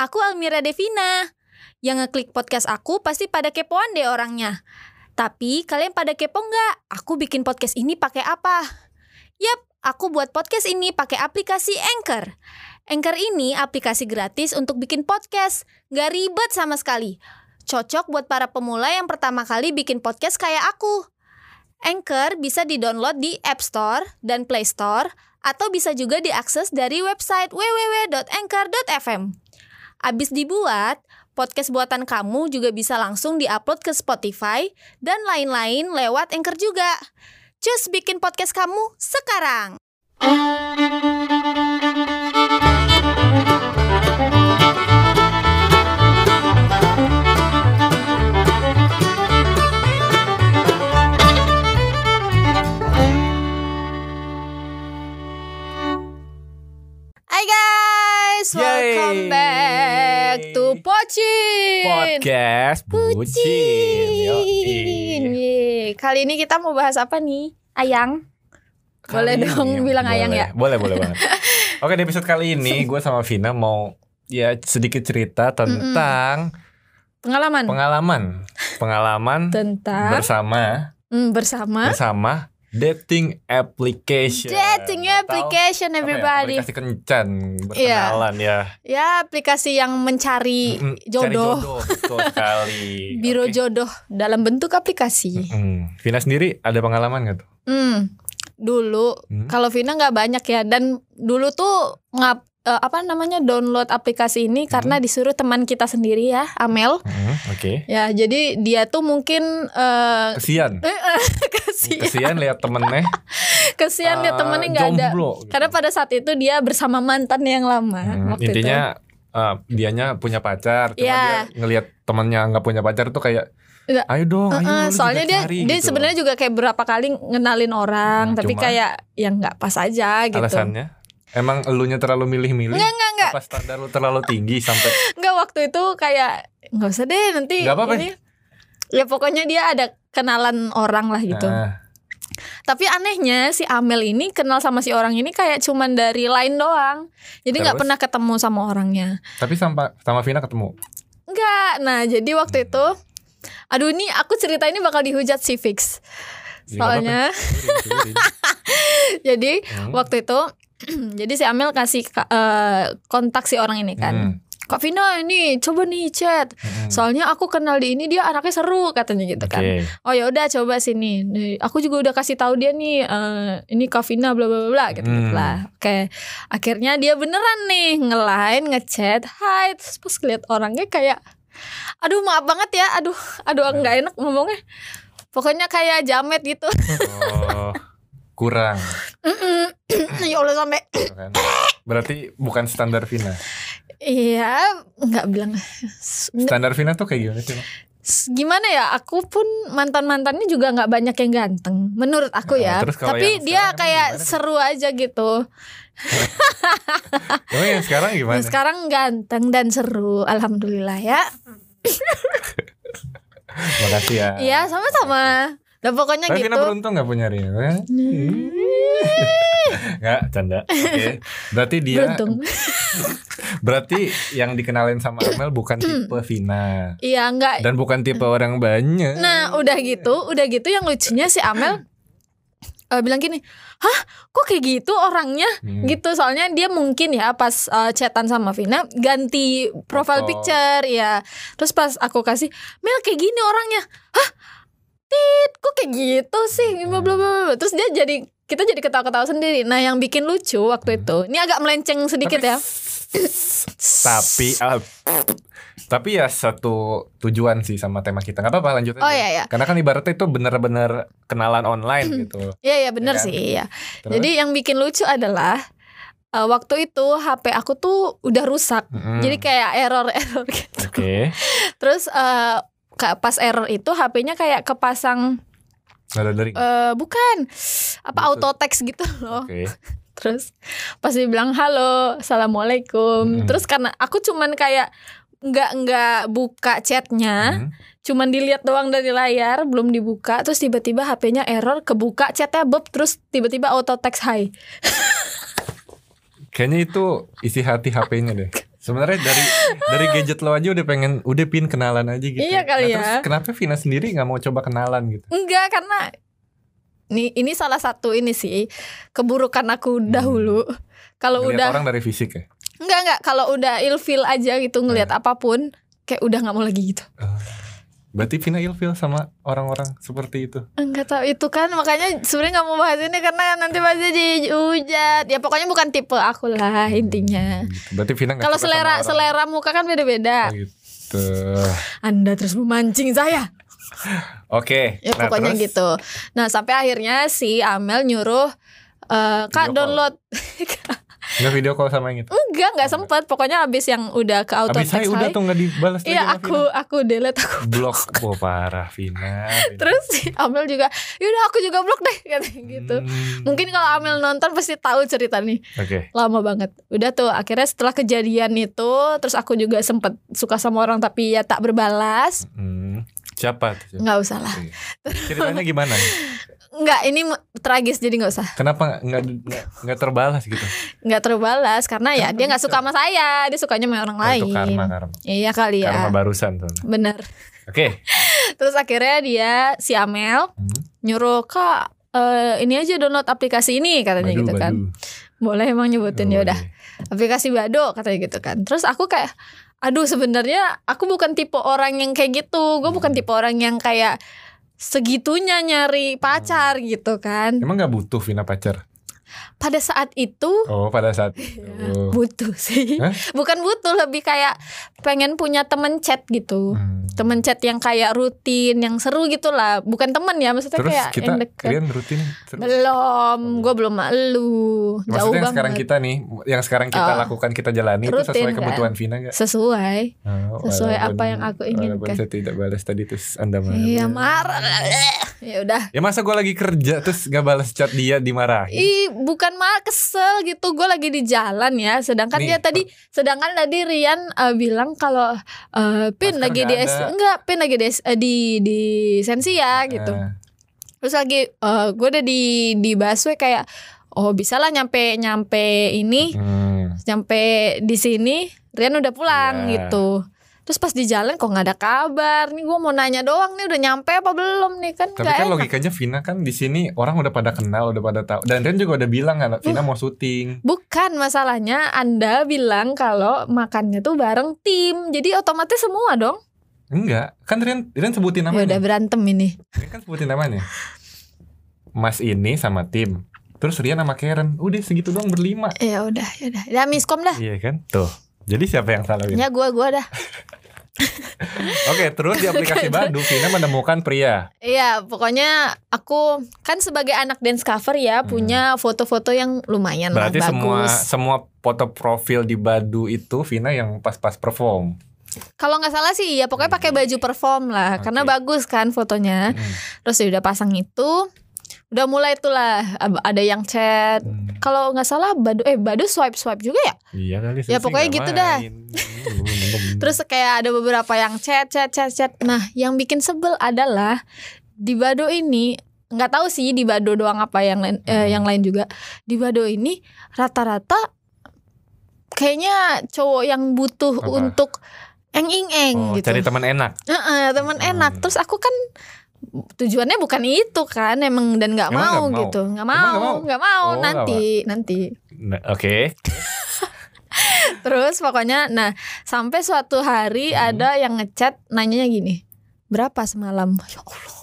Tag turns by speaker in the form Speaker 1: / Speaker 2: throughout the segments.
Speaker 1: Aku Almira Devina. Yang ngeklik podcast aku pasti pada kepoan deh orangnya. Tapi kalian pada kepo nggak? Aku bikin podcast ini pakai apa? Yap, aku buat podcast ini pakai aplikasi Anchor. Anchor ini aplikasi gratis untuk bikin podcast. Nggak ribet sama sekali. Cocok buat para pemula yang pertama kali bikin podcast kayak aku. Anchor bisa di-download di App Store dan Play Store atau bisa juga diakses dari website www.anchor.fm. Abis dibuat, podcast buatan kamu juga bisa langsung diupload ke Spotify dan lain-lain lewat Anchor juga. Cus bikin podcast kamu sekarang. Hai guys, welcome
Speaker 2: Yeay.
Speaker 1: back to Pocin.
Speaker 2: podcast bucin. iya.
Speaker 1: Pucin.
Speaker 2: Yoi.
Speaker 1: Yeay. Kali ini kita mau bahas apa nih? Ayang. Boleh
Speaker 2: Kali
Speaker 1: dong
Speaker 2: ini-
Speaker 1: bilang ayang
Speaker 2: boleh,
Speaker 1: ya?
Speaker 2: Boleh, boleh banget. Oke, di episode kali ini gue sama Vina mau ya sedikit cerita tentang
Speaker 1: Pengalaman
Speaker 2: pengalaman, pengalaman
Speaker 1: tentang
Speaker 2: bersama
Speaker 1: hmm, bersama
Speaker 2: bersama dating application.
Speaker 1: dating application
Speaker 2: Atau apa ya,
Speaker 1: everybody. Iya.
Speaker 2: aplikasi kencan berkenalan ya.
Speaker 1: Ya, aplikasi yang mencari
Speaker 2: Mm-mm, cari
Speaker 1: jodoh,
Speaker 2: jodoh betul sekali.
Speaker 1: biro
Speaker 2: Oke.
Speaker 1: jodoh dalam bentuk aplikasi.
Speaker 2: Mm-mm. Vina sendiri ada pengalaman gak tuh?
Speaker 1: Hmm. Dulu
Speaker 2: Hmm?
Speaker 1: kalau Vina nggak banyak ya dan dulu tuh ngap eh, apa namanya download aplikasi ini karena disuruh teman kita sendiri ya, Amel.
Speaker 2: Mm-mm, Oke.
Speaker 1: Ya, jadi dia tuh mungkin eh
Speaker 2: Kesian.
Speaker 1: kasihan
Speaker 2: Kesian lihat temennya
Speaker 1: kasihan kan dia
Speaker 2: Eh,
Speaker 1: temennya nggak ada
Speaker 2: jomblo.
Speaker 1: karena pada saat itu dia bersama mantan yang lama
Speaker 2: Hmm,
Speaker 1: waktu itu
Speaker 2: intinya eh, dianya punya pacar cuma
Speaker 1: Iya.
Speaker 2: dia ngelihat temennya nggak punya pacar tuh kayak
Speaker 1: Nggak.
Speaker 2: ayo dong ayo
Speaker 1: Heeh,
Speaker 2: lu
Speaker 1: soalnya
Speaker 2: juga
Speaker 1: dia
Speaker 2: cari,"
Speaker 1: dia
Speaker 2: gitu.
Speaker 1: sebenarnya juga kayak berapa kali ngenalin orang
Speaker 2: Hmm,
Speaker 1: tapi
Speaker 2: cuma-
Speaker 1: kayak yang nggak pas aja gitu
Speaker 2: alasannya emang elunya terlalu milih-milih
Speaker 1: nggak nggak nggak
Speaker 2: apa standar lu terlalu tinggi sampai
Speaker 1: nggak waktu itu kayak nggak usah deh nanti
Speaker 2: Nggak apa-apa.
Speaker 1: ini ya pokoknya dia ada kenalan orang lah gitu
Speaker 2: Nah,
Speaker 1: tapi anehnya si Amel ini kenal sama si orang ini kayak cuman dari lain doang jadi nggak
Speaker 2: Terus?
Speaker 1: pernah ketemu sama orangnya
Speaker 2: tapi sama sama Vina ketemu
Speaker 1: Enggak. Nah, jadi waktu itu aduh ini aku cerita ini bakal dihujat si Fix.
Speaker 2: Jadi Iya, nggak
Speaker 1: Soalnya
Speaker 2: apa-apa, dengerin, dengerin.
Speaker 1: jadi
Speaker 2: Hmm,
Speaker 1: waktu itu jadi si Amel kasih ka- eh, kontak si orang ini kan.
Speaker 2: hmm,
Speaker 1: Kak Vina ini coba nih chat.
Speaker 2: hmm.
Speaker 1: Soalnya aku kenal di ini dia anaknya seru katanya gitu kan.
Speaker 2: Oke.
Speaker 1: Oh ya udah coba sini. Nih, Aku juga udah kasih tahu dia nih eh, ini Kak Vina bla bla bla, bla gitu
Speaker 2: Hmm.
Speaker 1: lah. Oke. Akhirnya dia beneran nih ngelain ngechat. Hai, terus pas lihat orangnya kayak aduh maaf banget ya. Aduh, aduh
Speaker 2: Iya.
Speaker 1: nggak enak ngomongnya. Pokoknya kayak jamet gitu.
Speaker 2: Oh, kurang
Speaker 1: Mm-mm. ya Allah sampai
Speaker 2: gitu kan. berarti bukan standar Vina
Speaker 1: iya nggak bilang S- nggak-
Speaker 2: standar Vina tuh kayak gimana sih Mak?
Speaker 1: s- gimana ya aku pun mantan mantannya juga nggak banyak yang ganteng menurut aku ya
Speaker 2: Nah, terus kalau
Speaker 1: tapi dia
Speaker 2: yang sekarang emang
Speaker 1: kayak
Speaker 2: gimana?
Speaker 1: seru aja gitu
Speaker 2: Emang yang sekarang gimana
Speaker 1: Nah, sekarang ganteng dan seru, alhamdulillah ya.
Speaker 2: makasih ya
Speaker 1: Iya, sama-sama. Dan pokoknya
Speaker 2: Tapi
Speaker 1: gitu.
Speaker 2: Vina
Speaker 1: Hmm,
Speaker 2: beruntung gak punya Ria Enggak, canda Oke Berarti dia
Speaker 1: Beruntung.
Speaker 2: Berarti yang dikenalin sama Amel bukan
Speaker 1: Hmm.
Speaker 2: tipe Vina
Speaker 1: Iya, enggak.
Speaker 2: Dan bukan tipe orang banyak
Speaker 1: Nah, udah gitu, udah gitu yang lucunya si Amel eh, bilang gini, "Hah, kok kayak gitu orangnya?"
Speaker 2: Hmm.
Speaker 1: Gitu, soalnya dia mungkin ya pas eh, chatan sama Vina ganti profile
Speaker 2: Foto.
Speaker 1: picture ya. Terus pas aku kasih, "Mel kayak gini orangnya." Hah? Tit, kok kayak gitu sih?
Speaker 2: Hmm.
Speaker 1: Bla bla bla. bla. Terus dia jadi kita jadi ketawa-ketawa sendiri. Nah, yang bikin lucu waktu itu. Ini agak melenceng sedikit
Speaker 2: Hmm. Tapi-
Speaker 1: ya.
Speaker 2: Tapi ah, Tapi ya satu tujuan sih sama tema kita Gak apa-apa lanjut aja
Speaker 1: Oh iya ya.
Speaker 2: Karena kan ibaratnya itu bener-bener kenalan online gitu
Speaker 1: Iya ya bener
Speaker 2: Ya kan?
Speaker 1: sih iya.
Speaker 2: Terus?
Speaker 1: Jadi yang bikin lucu adalah eh, waktu itu HP aku tuh udah rusak.
Speaker 2: Mm-mm.
Speaker 1: Jadi kayak error-error gitu.
Speaker 2: Hmm, Oke
Speaker 1: Terus eh, ka- pas error itu HP-nya kayak kepasang
Speaker 2: Nada dari
Speaker 1: eh, bukan apa
Speaker 2: Bluetooth.
Speaker 1: auto text gitu loh.
Speaker 2: Oke
Speaker 1: Terus pas dibilang halo, assalamualaikum.
Speaker 2: Mm-mm.
Speaker 1: Terus karena aku cuman kayak nggak nggak buka chatnya,
Speaker 2: Hmm.
Speaker 1: cuman dilihat doang dari layar, belum dibuka. Terus tiba-tiba HP-nya error, kebuka chatnya bob, terus tiba-tiba auto text hi.
Speaker 2: Kayaknya itu isi hati HP-nya deh Sebenarnya dari dari gadget lo aja udah pengen udah pin kenalan aja gitu.
Speaker 1: Iya kali
Speaker 2: Nah,
Speaker 1: ya.
Speaker 2: Terus kenapa Vina sendiri nggak mau coba kenalan gitu?
Speaker 1: Enggak karena ini ini salah satu ini sih keburukan aku dahulu. Kalau
Speaker 2: Ngeliat
Speaker 1: udah
Speaker 2: Hmm. orang dari fisik ya.
Speaker 1: enggak enggak kalau udah ilfil aja gitu ngelihat apapun kayak udah nggak mau lagi gitu.
Speaker 2: Berarti Vina ilfil sama orang-orang seperti itu.
Speaker 1: Enggak tahu itu kan makanya sebenarnya nggak mau bahas ini karena nanti pasti dihujat. Ya pokoknya bukan tipe aku lah intinya.
Speaker 2: Gitu. Berarti Vina nggak
Speaker 1: Kalau
Speaker 2: suka
Speaker 1: selera
Speaker 2: sama orang.
Speaker 1: selera muka kan beda-beda.
Speaker 2: Gitu.
Speaker 1: Anda terus memancing saya.
Speaker 2: Oke.
Speaker 1: ya
Speaker 2: nah,
Speaker 1: pokoknya
Speaker 2: terus
Speaker 1: gitu nah sampai akhirnya si Amel nyuruh eh kak
Speaker 2: Video call.
Speaker 1: download
Speaker 2: Nggak video call sama yang itu.
Speaker 1: enggak enggak sempet pokoknya abis yang udah ke Uh, auto
Speaker 2: Abis
Speaker 1: text
Speaker 2: saya udah
Speaker 1: high,
Speaker 2: tuh nggak dibalas lagi
Speaker 1: iya
Speaker 2: sama
Speaker 1: aku aku delete aku
Speaker 2: Vina. blok. Wah parah Vina. Vina.
Speaker 1: terus si Amel juga yaudah aku juga blok deh katanya gitu
Speaker 2: Hmm.
Speaker 1: mungkin kalau Amel nonton pasti tahu cerita nih
Speaker 2: Oke.
Speaker 1: lama banget udah tuh akhirnya setelah kejadian itu terus aku juga sempet suka sama orang tapi ya tak berbalas
Speaker 2: Hmm. Siapa? tuh? Siapa?
Speaker 1: nggak usah lah
Speaker 2: Oke. Ceritanya gimana?
Speaker 1: nggak ini me- tragis jadi nggak usah
Speaker 2: Kenapa nggak nggak- nggak terbalas gitu?
Speaker 1: nggak terbalas karena ya
Speaker 2: Kenapa
Speaker 1: dia nggak
Speaker 2: bisa?
Speaker 1: suka sama saya dia sukanya sama orang
Speaker 2: Oh,
Speaker 1: lain
Speaker 2: itu karma karma.
Speaker 1: Iya kali
Speaker 2: Karma
Speaker 1: ya.
Speaker 2: barusan tuh. Oke.
Speaker 1: Bener. Terus akhirnya dia si Amel
Speaker 2: Hmm.
Speaker 1: nyuruh kak eh, ini aja download aplikasi ini katanya
Speaker 2: Hmm, Badu,
Speaker 1: gitu kan.
Speaker 2: badu. Oh, iya.
Speaker 1: Boleh emang nyebutin ya udah.
Speaker 2: Boleh.
Speaker 1: Aplikasi Bado katanya gitu kan. Terus aku kayak aduh sebenarnya aku bukan tipe orang yang kayak gitu. Gue
Speaker 2: Hmm.
Speaker 1: bukan tipe orang yang kayak segitunya nyari pacar
Speaker 2: Hmm.
Speaker 1: gitu kan.
Speaker 2: Emang nggak butuh Vina pacar?
Speaker 1: Pada saat itu
Speaker 2: Oh pada saat
Speaker 1: ya,
Speaker 2: itu.
Speaker 1: butuh sih.
Speaker 2: Oh. Hah?
Speaker 1: Bukan butuh lebih kayak pengen punya temen chat gitu.
Speaker 2: Hmm.
Speaker 1: temen chat yang kayak rutin yang seru gitu lah bukan temen ya maksudnya
Speaker 2: Terus
Speaker 1: kayak
Speaker 2: kita
Speaker 1: yang deket
Speaker 2: kalian rutin terus.
Speaker 1: belum gue belum malu jauh
Speaker 2: Maksudnya yang
Speaker 1: banget
Speaker 2: sekarang kita nih, yang sekarang kita
Speaker 1: Oh.
Speaker 2: lakukan kita jalani itu
Speaker 1: Rutin,
Speaker 2: sesuai
Speaker 1: kan?
Speaker 2: kebutuhan Vina gak?
Speaker 1: sesuai
Speaker 2: Oh,
Speaker 1: Sesuai apa yang aku
Speaker 2: Walaupun
Speaker 1: inginkan.
Speaker 2: saya tidak balas tadi terus anda marah.
Speaker 1: iya marah ya udah
Speaker 2: Ya masa gue lagi kerja terus gak balas chat dia dimarahin.
Speaker 1: Ih, bukan marah kesel gitu. Gue lagi di jalan ya. Sedangkan
Speaker 2: Nih,
Speaker 1: dia tadi, sedangkan tadi Rian eh, bilang kalau eh, pin
Speaker 2: Masker
Speaker 1: lagi di
Speaker 2: nggak
Speaker 1: S-
Speaker 2: ada.
Speaker 1: enggak, pin lagi di S- eh, di, di sensi ya gitu.
Speaker 2: Nah,
Speaker 1: Terus lagi eh, gue udah di di busway kayak oh bisalah nyampe nyampe ini
Speaker 2: hmm.
Speaker 1: nyampe di sini Rian udah pulang
Speaker 2: Iya.
Speaker 1: gitu terus pas di jalan kok nggak ada kabar nih gue mau nanya doang nih udah nyampe apa belum nih kan
Speaker 2: Tapi
Speaker 1: nggak
Speaker 2: kan
Speaker 1: enak
Speaker 2: logikanya Vina kan di sini orang udah pada kenal, udah pada tahu. Dan Ren juga udah bilang kan Vina mau syuting.
Speaker 1: bukan masalahnya anda bilang kalau makannya tuh bareng tim jadi otomatis semua dong
Speaker 2: Enggak, kan Ren Ren sebutin
Speaker 1: ya udah
Speaker 2: namanya.
Speaker 1: berantem ini
Speaker 2: Ren kan sebutin namanya. Mas ini sama tim. Terus Rian sama Karen. Udah segitu doang berlima.
Speaker 1: ya udah ya udah ya miskom dah
Speaker 2: Iya kan? Tuh. Jadi siapa yang salah Vina?
Speaker 1: ya gue gue dah
Speaker 2: Oke, terus di aplikasi Badu Vina menemukan pria.
Speaker 1: Iya, pokoknya aku kan sebagai anak dance cover ya
Speaker 2: Hmm.
Speaker 1: punya foto-foto yang lumayan lah
Speaker 2: Berarti
Speaker 1: bagus.
Speaker 2: semua semua foto profil di Badu itu Vina yang pas-pas perform.
Speaker 1: Kalau nggak salah sih iya pokoknya pakai baju perform lah
Speaker 2: Hmm. Oke.
Speaker 1: karena bagus kan fotonya.
Speaker 2: Hmm.
Speaker 1: Terus ya udah pasang itu udah mulai itulah ab- ada yang chat.
Speaker 2: Hmm.
Speaker 1: Kalau nggak salah badu eh badu swipe swipe juga ya.
Speaker 2: Iya kali.
Speaker 1: Ya,
Speaker 2: Susi
Speaker 1: pokoknya
Speaker 2: nggak
Speaker 1: gitu dah.
Speaker 2: main. Hmm,
Speaker 1: Terus kayak ada beberapa yang chat chat chat chat. Nah, yang bikin sebel adalah di badu ini nggak tahu sih di badu doang apa yang lain eh,
Speaker 2: Hmm.
Speaker 1: yang lain juga. Di badu ini rata-rata kayaknya cowok yang butuh
Speaker 2: Apa?
Speaker 1: untuk eng-ing-eng
Speaker 2: Oh,
Speaker 1: gitu.
Speaker 2: cari teman enak.
Speaker 1: Heeh, teman
Speaker 2: Hmm.
Speaker 1: enak. Terus aku kan tujuannya bukan itu kan, emang dan nggak
Speaker 2: Emang
Speaker 1: mau,
Speaker 2: nggak mau?
Speaker 1: gitu, nggak
Speaker 2: Emang
Speaker 1: mau,
Speaker 2: nggak mau?
Speaker 1: nggak mau,
Speaker 2: Oh, nggak
Speaker 1: nanti, nanti.
Speaker 2: Nah, Oke.
Speaker 1: Terus pokoknya, nah sampai suatu hari
Speaker 2: Hmm.
Speaker 1: ada yang ngechat, nanyanya gini, berapa semalam? Ya Allah.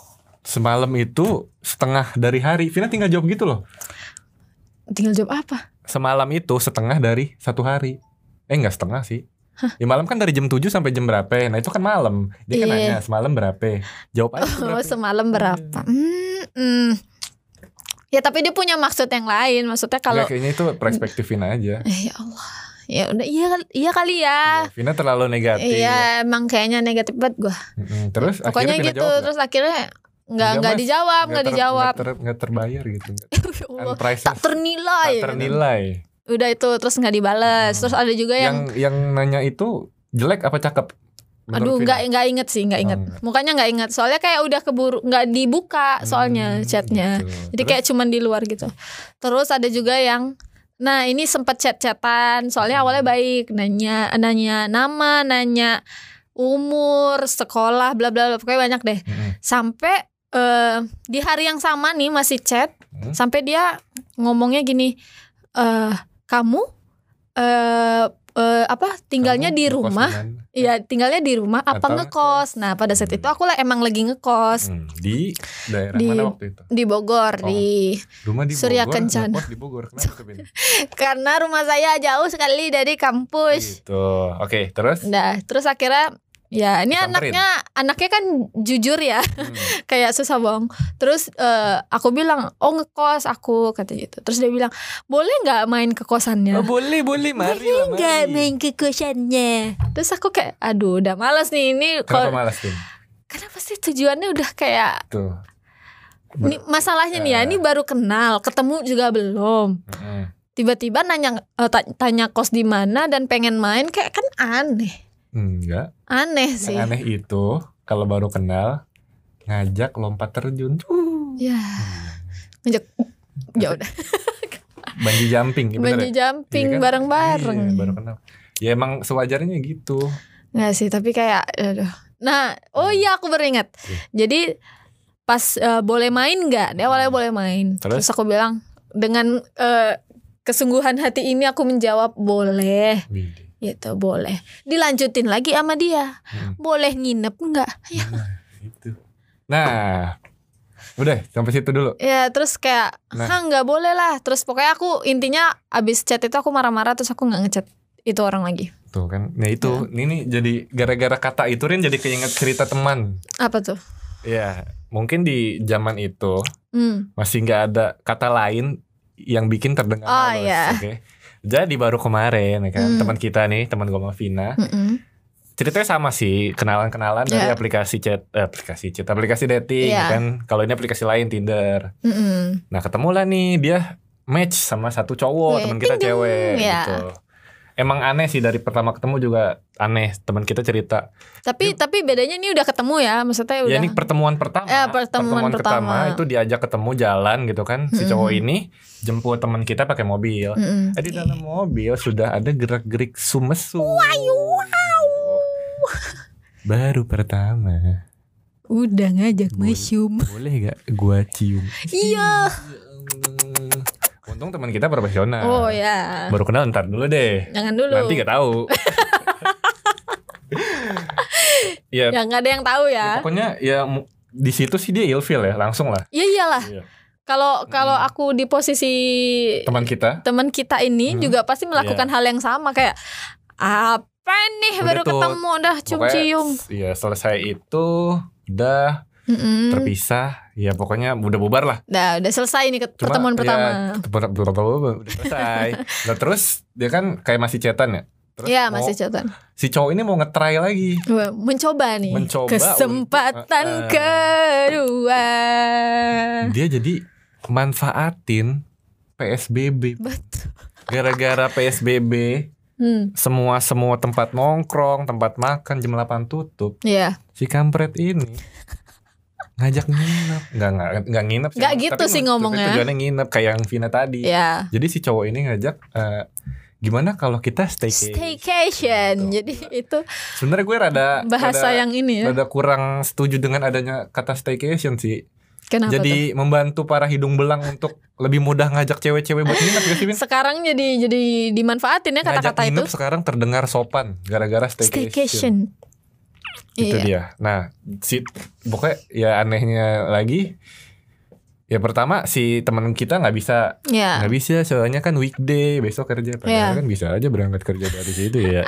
Speaker 2: Semalam itu setengah dari hari. Vina tinggal jawab gitu loh.
Speaker 1: Tinggal jawab apa?
Speaker 2: Semalam itu setengah dari satu hari. Eh enggak setengah sih. Ya malam kan dari jam 7 sampai jam berapa? Nah itu kan malam. Dia
Speaker 1: Iya.
Speaker 2: kan nanya semalam berapa? Jawab aja itu
Speaker 1: Oh,
Speaker 2: Eh, berapa. ya?
Speaker 1: semalam berapa? Hmm, hmm. Ya tapi dia punya maksud yang lain, maksudnya kalau
Speaker 2: Enggak, kayaknya itu perspektif Vina aja.
Speaker 1: eh, ya Allah, ya udah, iya, iya kali ya.
Speaker 2: Vina terlalu negatif.
Speaker 1: Iya, emang kayaknya negatif banget gua.
Speaker 2: Mm-mm. Terus
Speaker 1: Pokoknya
Speaker 2: akhirnya Vina
Speaker 1: gitu,
Speaker 2: jawab nggak?
Speaker 1: terus akhirnya nggak
Speaker 2: Nggak,
Speaker 1: nggak
Speaker 2: Mas.
Speaker 1: dijawab,
Speaker 2: Nggak
Speaker 1: nggak
Speaker 2: ter-
Speaker 1: dijawab.
Speaker 2: nggak ter- nggak terbayar gitu. Nggak-
Speaker 1: Ya Allah,
Speaker 2: Unpriceless.
Speaker 1: tak gitu. ternilai.
Speaker 2: tak ternilai.
Speaker 1: Udah itu terus nggak dibales.
Speaker 2: Hmm.
Speaker 1: Terus ada juga Oh, yang,
Speaker 2: Yang yang nanya itu jelek apa cakep? Menurut
Speaker 1: aduh
Speaker 2: Vina.
Speaker 1: nggak nggak inget sih, nggak inget.
Speaker 2: Oh, nggak.
Speaker 1: Mukanya nggak inget. Soalnya kayak udah keburu nggak dibuka ya, soalnya
Speaker 2: Hmm,
Speaker 1: chatnya.
Speaker 2: gitu.
Speaker 1: Jadi
Speaker 2: Terus?
Speaker 1: kayak cuman di luar gitu. Terus ada juga yang Nah ini sempet chat-chatan Soalnya awalnya
Speaker 2: Hmm.
Speaker 1: baik Nanya nanya nama Nanya umur Sekolah bla bla bla Pokoknya banyak deh
Speaker 2: Mm-mm.
Speaker 1: Sampai eh, Di hari yang sama nih masih chat
Speaker 2: Hmm.
Speaker 1: Sampai dia ngomongnya gini eh Kamu eh eh, Apa tinggalnya
Speaker 2: Kamu Eh,
Speaker 1: di
Speaker 2: ngekos
Speaker 1: rumah
Speaker 2: dengan-
Speaker 1: Iya tinggalnya di rumah Apa
Speaker 2: Atau
Speaker 1: ngekos Nah pada saat
Speaker 2: Hmm.
Speaker 1: itu aku lah emang lagi ngekos
Speaker 2: Hmm, di daerah
Speaker 1: Di-
Speaker 2: mana waktu itu?
Speaker 1: Di Bogor
Speaker 2: Oh.
Speaker 1: Di
Speaker 2: Rumah di
Speaker 1: Surya
Speaker 2: Bogor.
Speaker 1: Kencana.
Speaker 2: ngekos di Bogor. Kenapa tuh, Bin?
Speaker 1: Karena rumah saya jauh sekali dari kampus
Speaker 2: Gitu. Oke, terus?
Speaker 1: Oh, Nah, terus akhirnya ya ini
Speaker 2: Iya. Disamperin.
Speaker 1: anaknya anaknya kan jujur ya,
Speaker 2: Hmm.
Speaker 1: kayak susah bohong. Terus eh, aku bilang, "Oh, ngekos aku," kata gitu. Terus dia bilang, "Boleh nggak main ke kosannya?"
Speaker 2: Oh, boleh, boleh, mari lah,
Speaker 1: Nggak
Speaker 2: mari.
Speaker 1: main ke kosannya. Terus aku kayak, "Aduh, udah males nih ini
Speaker 2: Kenapa
Speaker 1: kok
Speaker 2: malas, Bin?
Speaker 1: Kenapa sih tujuannya udah kayak
Speaker 2: Tuh.
Speaker 1: ini masalahnya nih ya,
Speaker 2: Ya.
Speaker 1: ini baru kenal, ketemu juga belum.
Speaker 2: Mm-mm.
Speaker 1: Tiba-tiba nanya eh, ta- tanya kos di mana dan pengen main kayak kan aneh.
Speaker 2: Enggak.
Speaker 1: Aneh
Speaker 2: Yang
Speaker 1: sih.
Speaker 2: aneh itu kalau baru kenal ngajak lompat terjun. Uh.
Speaker 1: Ya.
Speaker 2: Hmm.
Speaker 1: Ngejek. Ya udah,
Speaker 2: Bungee jumping, ya bener
Speaker 1: banji
Speaker 2: ya?
Speaker 1: jumping
Speaker 2: Iya kan?
Speaker 1: bareng-bareng.
Speaker 2: Iya, baru kenal. Ya emang sewajarnya gitu.
Speaker 1: Nggak sih, tapi kayak aduh. Nah,
Speaker 2: Hmm.
Speaker 1: oh iya aku beringat. Jadi pas eh, boleh main nggak? Dia awalnya boleh main. Terus,
Speaker 2: Hmm. Terus?
Speaker 1: aku bilang dengan eh, kesungguhan hati ini aku menjawab boleh,
Speaker 2: Widih.
Speaker 1: gitu boleh. Dilanjutin lagi sama dia,
Speaker 2: Mm.
Speaker 1: boleh nginep nggak?
Speaker 2: Nah, itu. Nah, udah sampai situ dulu.
Speaker 1: Ya terus kayak
Speaker 2: Nah.
Speaker 1: hah nggak boleh lah. Terus pokoknya aku intinya abis chat itu aku marah-marah terus aku nggak ngechat itu orang lagi.
Speaker 2: Tuh kan. Nah, itu
Speaker 1: Iya.
Speaker 2: ini jadi gara-gara kata itu Rin jadi keinget cerita teman.
Speaker 1: Apa tuh?
Speaker 2: Iya, mungkin di zaman itu
Speaker 1: Hmm.
Speaker 2: masih nggak ada kata lain yang bikin terdengar
Speaker 1: Oh,
Speaker 2: halus,
Speaker 1: iya.
Speaker 2: oke? Jadi baru kemarin ya kan
Speaker 1: Hmm.
Speaker 2: teman kita nih, teman gue sama Vina,
Speaker 1: Mm-mm.
Speaker 2: ceritanya sama sih, kenalan-kenalan dari
Speaker 1: Iya.
Speaker 2: aplikasi chat, eh, aplikasi chat, aplikasi dating
Speaker 1: Iya.
Speaker 2: ya kan. Kalau ini aplikasi lain Tinder.
Speaker 1: Mm-mm.
Speaker 2: Nah, ketemulah nih dia match sama satu
Speaker 1: Weh,
Speaker 2: cowok, teman kita
Speaker 1: ting-dong,
Speaker 2: cewek
Speaker 1: ya.
Speaker 2: gitu. Emang aneh sih dari pertama ketemu juga aneh teman kita cerita.
Speaker 1: Tapi tapi bedanya ini udah ketemu ya, maksudnya udah.
Speaker 2: Ya ini pertemuan pertama.
Speaker 1: Eh, pertemuan pertama.
Speaker 2: itu diajak ketemu jalan gitu kan. Si cowok
Speaker 1: Mm-mm. Iya.
Speaker 2: ini jemput teman kita pakai mobil.
Speaker 1: Mm-mm.
Speaker 2: Eh, Di dalam mobil sudah ada gerak-gerik sumesu. Baru pertama.
Speaker 1: Udah ngajak
Speaker 2: Boleh.
Speaker 1: museum.
Speaker 2: Boleh gak gua cium?
Speaker 1: Iya.
Speaker 2: Untung teman kita profesional.
Speaker 1: Oh ya.
Speaker 2: Baru kenal ntar dulu deh.
Speaker 1: Jangan dulu.
Speaker 2: Nah. Nanti gak tahu. ya,
Speaker 1: Ya nggak ada yang tahu ya.
Speaker 2: ya pokoknya ya mu- di situ sih dia ilfil ya, langsung lah.
Speaker 1: Iya iyalah.
Speaker 2: Iya.
Speaker 1: Kalau kalau
Speaker 2: Mm.
Speaker 1: aku di posisi Iya.
Speaker 2: Teman kita
Speaker 1: teman kita ini
Speaker 2: Hmm.
Speaker 1: juga pasti melakukan hal yang sama kayak apa nih
Speaker 2: Udah
Speaker 1: baru
Speaker 2: tuh,
Speaker 1: ketemu udah cium-cium.
Speaker 2: pokoknya, Iya, selesai itu udah
Speaker 1: Mm-mm.
Speaker 2: terpisah. Ya pokoknya udah bubar lah.
Speaker 1: Nah, udah selesai nih ke-
Speaker 2: Cuma,
Speaker 1: pertemuan
Speaker 2: ya,
Speaker 1: pertama.
Speaker 2: ber- ber- ber- ber- udah selesai. Nah, terus dia kan kayak masih cetan ya. Terus
Speaker 1: Iya,
Speaker 2: mau-
Speaker 1: masih catatan.
Speaker 2: si cowok ini mau ngetry lagi.
Speaker 1: Wah, Mencoba nih.
Speaker 2: Mencoba Ah,
Speaker 1: Kesempatan
Speaker 2: untuk-
Speaker 1: kedua. Eh.
Speaker 2: Dia jadi manfaatin PSBB.
Speaker 1: Betul.
Speaker 2: Gara-gara PSBB,
Speaker 1: Hmm,
Speaker 2: semua semua tempat nongkrong, tempat makan jam 8 tutup.
Speaker 1: iya.
Speaker 2: Si kampret ini ngajak nginep. Nggak, nggak, nggak nginep
Speaker 1: Nggak
Speaker 2: emang.
Speaker 1: gitu
Speaker 2: Tapi
Speaker 1: sih
Speaker 2: nu-
Speaker 1: ngomongnya.
Speaker 2: Tapi tujuannya nginep kayak yang Vina tadi.
Speaker 1: Iya.
Speaker 2: Jadi si cowok ini ngajak eh, gimana kalau kita staycation.
Speaker 1: iya. Staycation.
Speaker 2: Betul. Ah,
Speaker 1: Jadi itu
Speaker 2: Sebenarnya gue rada
Speaker 1: bahasa
Speaker 2: rada-
Speaker 1: yang ini ya.
Speaker 2: rada kurang setuju dengan adanya kata staycation sih.
Speaker 1: Kenapa tuh?
Speaker 2: jadi membantu para hidung belang untuk lebih mudah ngajak cewek-cewek buat nginep gak sih Bin?
Speaker 1: Sekarang jadi jadi dimanfaatin ya
Speaker 2: Ngajak
Speaker 1: kata-kata itu.
Speaker 2: nginep sekarang terdengar sopan gara-gara staycation.
Speaker 1: Staycation.
Speaker 2: Itu
Speaker 1: Iya.
Speaker 2: dia. Nah, si pokoknya ya anehnya lagi ya pertama si teman kita nggak bisa
Speaker 1: Iya.
Speaker 2: nggak bisa soalnya kan weekday besok kerja
Speaker 1: Iya.
Speaker 2: padahal kan bisa aja berangkat kerja dari situ ya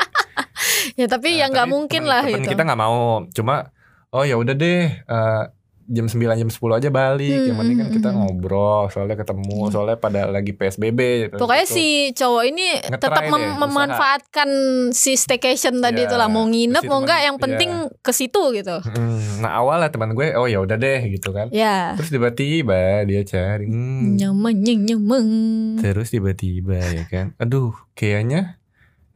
Speaker 1: Ya tapi ya
Speaker 2: Nah,
Speaker 1: nggak
Speaker 2: tapi
Speaker 1: mungkin
Speaker 2: temen-
Speaker 1: lah
Speaker 2: temen
Speaker 1: itu.
Speaker 2: Kita nggak mau. Cuma oh ya udah deh eh, jam 9 jam 10 aja balik. yang
Speaker 1: Hmm,
Speaker 2: penting kan
Speaker 1: hmm,
Speaker 2: kita
Speaker 1: hmm.
Speaker 2: ngobrol, soalnya ketemu,
Speaker 1: Hmm.
Speaker 2: soalnya pada lagi PSBB.
Speaker 1: Pokoknya
Speaker 2: gitu.
Speaker 1: si cowok ini
Speaker 2: Ngetry
Speaker 1: tetap mem-
Speaker 2: deh, usaha.
Speaker 1: memanfaatkan si staycation tadi
Speaker 2: Iya.
Speaker 1: itu lah mau nginep
Speaker 2: Si
Speaker 1: mau
Speaker 2: temen-
Speaker 1: nggak yang
Speaker 2: iya.
Speaker 1: penting ke situ gitu.
Speaker 2: Mm, nah awalnya teman gue, oh ya udah deh gitu kan.
Speaker 1: Ya.
Speaker 2: Terus tiba-tiba dia cari. hmm, Iya.
Speaker 1: Nyemeng nyeng, nyemeng.
Speaker 2: terus tiba-tiba ya kan. Aduh, kayaknya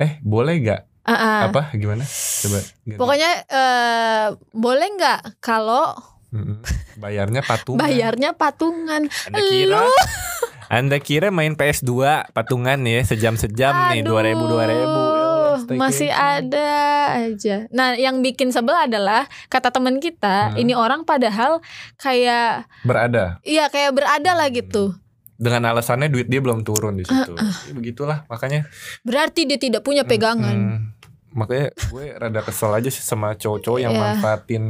Speaker 2: eh boleh gak?
Speaker 1: Ah, ah.
Speaker 2: Apa gimana? Coba. ganti.
Speaker 1: Pokoknya eh, boleh nggak kalau
Speaker 2: Mm-mm. bayarnya patungan.
Speaker 1: bayarnya patungan?
Speaker 2: Anda kira? Anda kira main PS2 patungan ya sejam-sejam nih 2000 ya 2000.
Speaker 1: masih ada aja. Nah, yang bikin sebel adalah kata teman kita,
Speaker 2: Hmm.
Speaker 1: ini orang padahal kayak
Speaker 2: Berada.
Speaker 1: iya kayak berada lah gitu.
Speaker 2: Dengan alasannya duit dia belum turun di situ.
Speaker 1: Uh,
Speaker 2: Ya, Begitulah makanya.
Speaker 1: Berarti dia tidak punya pegangan.
Speaker 2: hmm, makanya gue rada kesel aja sih sama cowok-cowok yang
Speaker 1: Iya.
Speaker 2: manfaatin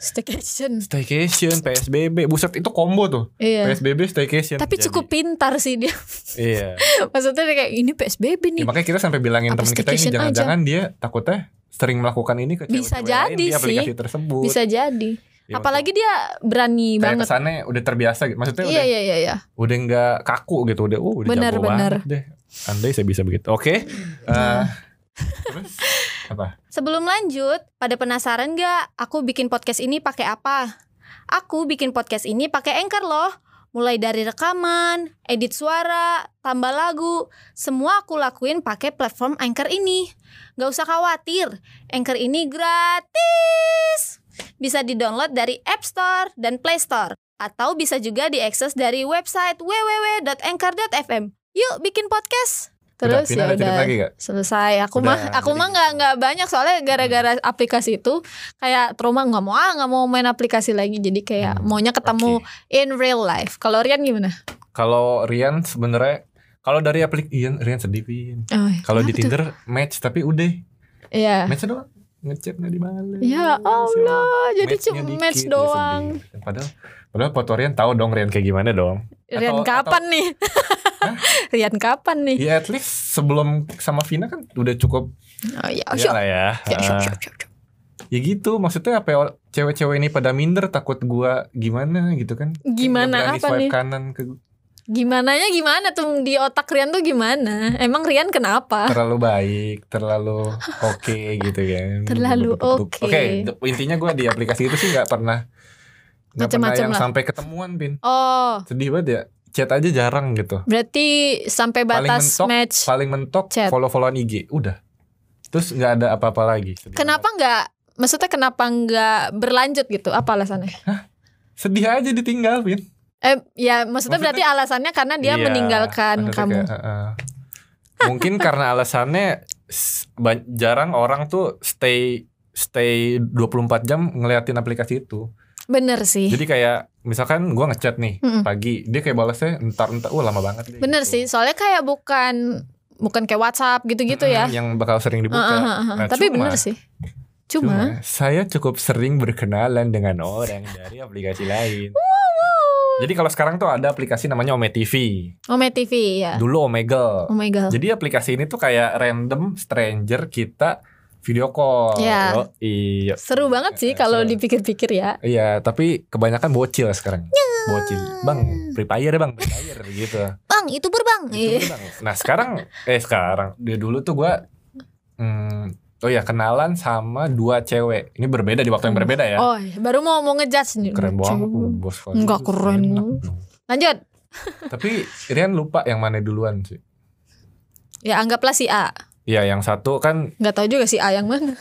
Speaker 1: Staycation.
Speaker 2: staycation, PSBB. Buset itu combo tuh.
Speaker 1: Iya.
Speaker 2: PSBB staycation.
Speaker 1: Tapi
Speaker 2: Jadi,
Speaker 1: cukup pintar sih dia.
Speaker 2: Iya.
Speaker 1: Maksudnya dia kayak ini PSBB
Speaker 2: Ya,
Speaker 1: nih.
Speaker 2: makanya kita sampai bilangin
Speaker 1: Apa
Speaker 2: teman kita ini
Speaker 1: staycation aja?
Speaker 2: jangan-jangan dia takutnya sering melakukan ini ke
Speaker 1: Bisa
Speaker 2: cewek-cewek lain
Speaker 1: jadi
Speaker 2: di aplikasi
Speaker 1: sih.
Speaker 2: tersebut.
Speaker 1: Bisa jadi.
Speaker 2: Ya,
Speaker 1: Apalagi dia berani
Speaker 2: kayak
Speaker 1: banget.
Speaker 2: kesannya udah terbiasa gitu. Maksudnya
Speaker 1: Iya,
Speaker 2: udah
Speaker 1: iya, iya, iya.
Speaker 2: udah nggak kaku gitu, udah oh udah
Speaker 1: Bener,
Speaker 2: jago
Speaker 1: bener.
Speaker 2: banget deh. Andai saya bisa begitu. Oke. Eh,
Speaker 1: Nah.
Speaker 2: terus apa?
Speaker 1: Sebelum lanjut, pada penasaran nggak aku bikin podcast ini pakai apa? Aku bikin podcast ini pakai Anchor loh. Mulai dari rekaman, edit suara, tambah lagu, semua aku lakuin pakai platform Anchor ini. Nggak usah khawatir, Anchor ini gratis. Bisa di-download dari App Store dan Play Store. Atau bisa juga diakses dari website www.anchor.fm. Yuk bikin podcast. Terus
Speaker 2: udah, Vina
Speaker 1: ya
Speaker 2: ada cerita
Speaker 1: udah
Speaker 2: lagi gak?
Speaker 1: selesai aku
Speaker 2: Udah,
Speaker 1: mah aku
Speaker 2: jadi Hmm.
Speaker 1: mah nggak nggak banyak soalnya gara-gara aplikasi itu kayak trauma nggak mau ah nggak mau main aplikasi lagi jadi kayak
Speaker 2: Hmm,
Speaker 1: maunya ketemu
Speaker 2: Oke.
Speaker 1: in real life kalau Rian gimana
Speaker 2: Kalau Rian sebenarnya kalau dari aplikasi Rian, Rian sedih Vin.
Speaker 1: oh,
Speaker 2: Kalau
Speaker 1: kenapa
Speaker 2: di
Speaker 1: tuh?
Speaker 2: Tinder match tapi udah
Speaker 1: Iya.
Speaker 2: match doang. Ngechat nggak dibales.
Speaker 1: ya Allah jadi
Speaker 2: Matchnya
Speaker 1: cuma
Speaker 2: dikit,
Speaker 1: match
Speaker 2: ya
Speaker 1: doang
Speaker 2: sedih. Padahal padahal foto Rian tahu dong Rian kayak gimana dong.
Speaker 1: Rian
Speaker 2: Atau-
Speaker 1: kapan nih Rian kapan nih
Speaker 2: Ya at least sebelum sama Vina kan udah cukup
Speaker 1: oh ya oh,
Speaker 2: ya
Speaker 1: syok.
Speaker 2: lah ya.
Speaker 1: Ya, syok,
Speaker 2: Ah,
Speaker 1: syok, syok, syok.
Speaker 2: ya gitu maksudnya apa ya, or- cewek-cewek ini pada minder takut gua gimana gitu kan. Kayak
Speaker 1: Gimana,
Speaker 2: nggak berani
Speaker 1: apa
Speaker 2: swipe
Speaker 1: nih?
Speaker 2: kanan ke
Speaker 1: Gimananya gimana tuh di otak Rian tuh gimana emang Rian kenapa
Speaker 2: terlalu baik, terlalu oke gitu kan.
Speaker 1: Terlalu oke.
Speaker 2: Duk-duk-duk-duk. Oke, intinya gua di aplikasi itu sih nggak pernah nggak pernah
Speaker 1: Macem-macem
Speaker 2: yang
Speaker 1: lah.
Speaker 2: sampai ketemuan pin.
Speaker 1: oh
Speaker 2: Sedih banget ya. Chat aja jarang gitu.
Speaker 1: berarti sampai
Speaker 2: Paling
Speaker 1: batas
Speaker 2: mentok,
Speaker 1: match
Speaker 2: paling mentok
Speaker 1: Chat.
Speaker 2: follow-followan IG udah terus nggak ada apa-apa lagi sedih
Speaker 1: Kenapa nggak? Maksudnya kenapa nggak berlanjut gitu? Apa alasannya?
Speaker 2: banget. sedih aja ditinggal Vin
Speaker 1: Eh, ya maksudnya,
Speaker 2: Maksudnya-
Speaker 1: berarti alasannya karena dia
Speaker 2: Iya,
Speaker 1: meninggalkan
Speaker 2: maksudnya
Speaker 1: kamu.
Speaker 2: kayak, "Uh-uh." mungkin karena alasannya s- ba- jarang orang tuh stay stay 24 jam ngeliatin aplikasi itu
Speaker 1: Bener sih.
Speaker 2: jadi kayak misalkan gua ngechat nih
Speaker 1: Mm-mm.
Speaker 2: pagi dia kayak balasnya entar entar wah lama banget deh,
Speaker 1: Bener
Speaker 2: gitu.
Speaker 1: sih. Soalnya kayak bukan bukan kayak WhatsApp gitu-gitu ya.
Speaker 2: Mm-mm, Mm, yang bakal sering dibuka
Speaker 1: Heeh, heeh, heeh.
Speaker 2: Nah,
Speaker 1: Tapi
Speaker 2: cuma-
Speaker 1: bener sih. Cuma,
Speaker 2: Cuma, saya cukup sering berkenalan dengan orang dari aplikasi lain. Jadi kalau sekarang tuh ada aplikasi namanya Ome TV.
Speaker 1: Ome TV ya.
Speaker 2: Dulu Omegle.
Speaker 1: Oh my god.
Speaker 2: Jadi aplikasi ini tuh kayak random stranger kita video call.
Speaker 1: Ya.
Speaker 2: Iya.
Speaker 1: Seru banget sih kalau dipikir-pikir ya.
Speaker 2: Iya, tapi kebanyakan bocil sekarang.
Speaker 1: Iya.
Speaker 2: Bocil. Bang, Free Fire ya, Bang, Free Fire gitu.
Speaker 1: Bang, itu berbang.
Speaker 2: Itu dulu, Bang. Nah, sekarang eh sekarang dia dulu tuh gua hmm, Oh ya kenalan sama dua cewek. Ini berbeda di waktu yang berbeda ya.
Speaker 1: Oh, baru mau mau ngejudge nih.
Speaker 2: keren banget
Speaker 1: Coba.
Speaker 2: lu, bos kalau
Speaker 1: Nggak
Speaker 2: gitu,
Speaker 1: keren
Speaker 2: enak
Speaker 1: lu.
Speaker 2: dong.
Speaker 1: Lanjut.
Speaker 2: tapi Rian lupa yang mana duluan sih
Speaker 1: Ya anggaplah si A.
Speaker 2: ya yang satu kan
Speaker 1: Nggak tahu juga si A yang mana.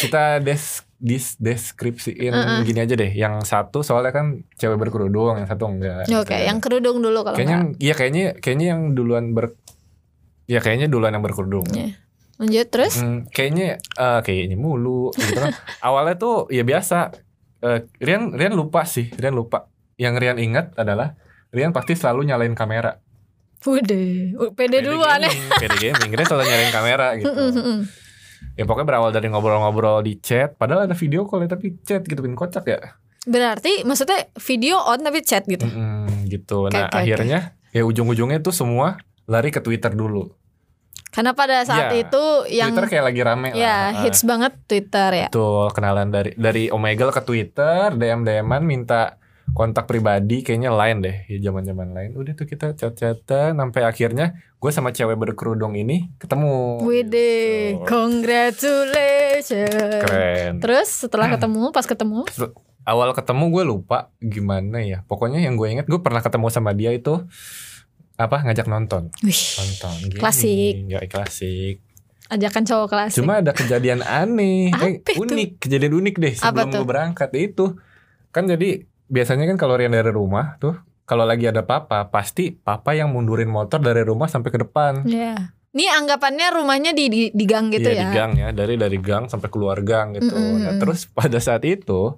Speaker 2: kita des dis- deskripsiin
Speaker 1: Heeh.
Speaker 2: gini aja deh yang satu soalnya kan cewek berkerudung yang satu enggak
Speaker 1: Oke,
Speaker 2: Gitu.
Speaker 1: yang kerudung dulu kalau
Speaker 2: kayaknya
Speaker 1: nggak.
Speaker 2: iya kayaknya kayaknya yang duluan ber ya kayaknya duluan yang berkerudung
Speaker 1: Iya. Lanjut terus.
Speaker 2: Hmm, kayaknya eh, kayaknya mulu gitu kan. Awalnya tuh ya biasa. Eh, Rian Rian lupa sih, Rian lupa. Yang Rian ingat adalah Rian pasti selalu nyalain kamera.
Speaker 1: Wede, pede duluan ya.
Speaker 2: gaming, PD gaming, dia selalu nyariin kamera gitu. ya pokoknya berawal dari ngobrol-ngobrol di chat, padahal ada video call ya, tapi chat gitu pin kocak ya.
Speaker 1: Berarti maksudnya video on tapi chat gitu.
Speaker 2: Mm-mm,
Speaker 1: Oke,
Speaker 2: gitu. Nah,
Speaker 1: oke,
Speaker 2: akhirnya ya ujung-ujungnya tuh semua lari ke Twitter dulu.
Speaker 1: Karena pada saat
Speaker 2: Iya.
Speaker 1: itu yang
Speaker 2: Twitter kayak lagi rame
Speaker 1: ya
Speaker 2: lah.
Speaker 1: hits banget Twitter ya.
Speaker 2: Betul, kenalan dari dari Omegle ke Twitter, DM-DM-an minta kontak pribadi kayaknya lain deh ya zaman-zaman lain udah tuh kita chat-chatan sampai akhirnya gue sama cewek berkerudung ini ketemu
Speaker 1: Wede,
Speaker 2: Gitu.
Speaker 1: congratulations.
Speaker 2: keren Hmm.
Speaker 1: Terus setelah ketemu, pas ketemu,
Speaker 2: awal ketemu gue lupa gimana ya pokoknya yang gue inget gue pernah ketemu sama dia itu apa ngajak nonton
Speaker 1: wih,
Speaker 2: nonton gini.
Speaker 1: Klasik.
Speaker 2: ya klasik
Speaker 1: ajakan cowok kelas.
Speaker 2: cuma ada kejadian aneh eh,
Speaker 1: Apa itu?
Speaker 2: unik kejadian unik deh
Speaker 1: Apa
Speaker 2: sebelum
Speaker 1: tuh?
Speaker 2: gue berangkat itu kan jadi biasanya kan kalau Rian dari rumah tuh kalau lagi ada papa, pasti papa yang mundurin motor dari rumah sampai ke depan.
Speaker 1: Iya. Ini anggapannya rumahnya di, di, di gang gitu ya.
Speaker 2: Iya, di gang ya, dari dari gang sampai keluar gang gitu.
Speaker 1: Mm-mm.
Speaker 2: Nah, terus pada saat itu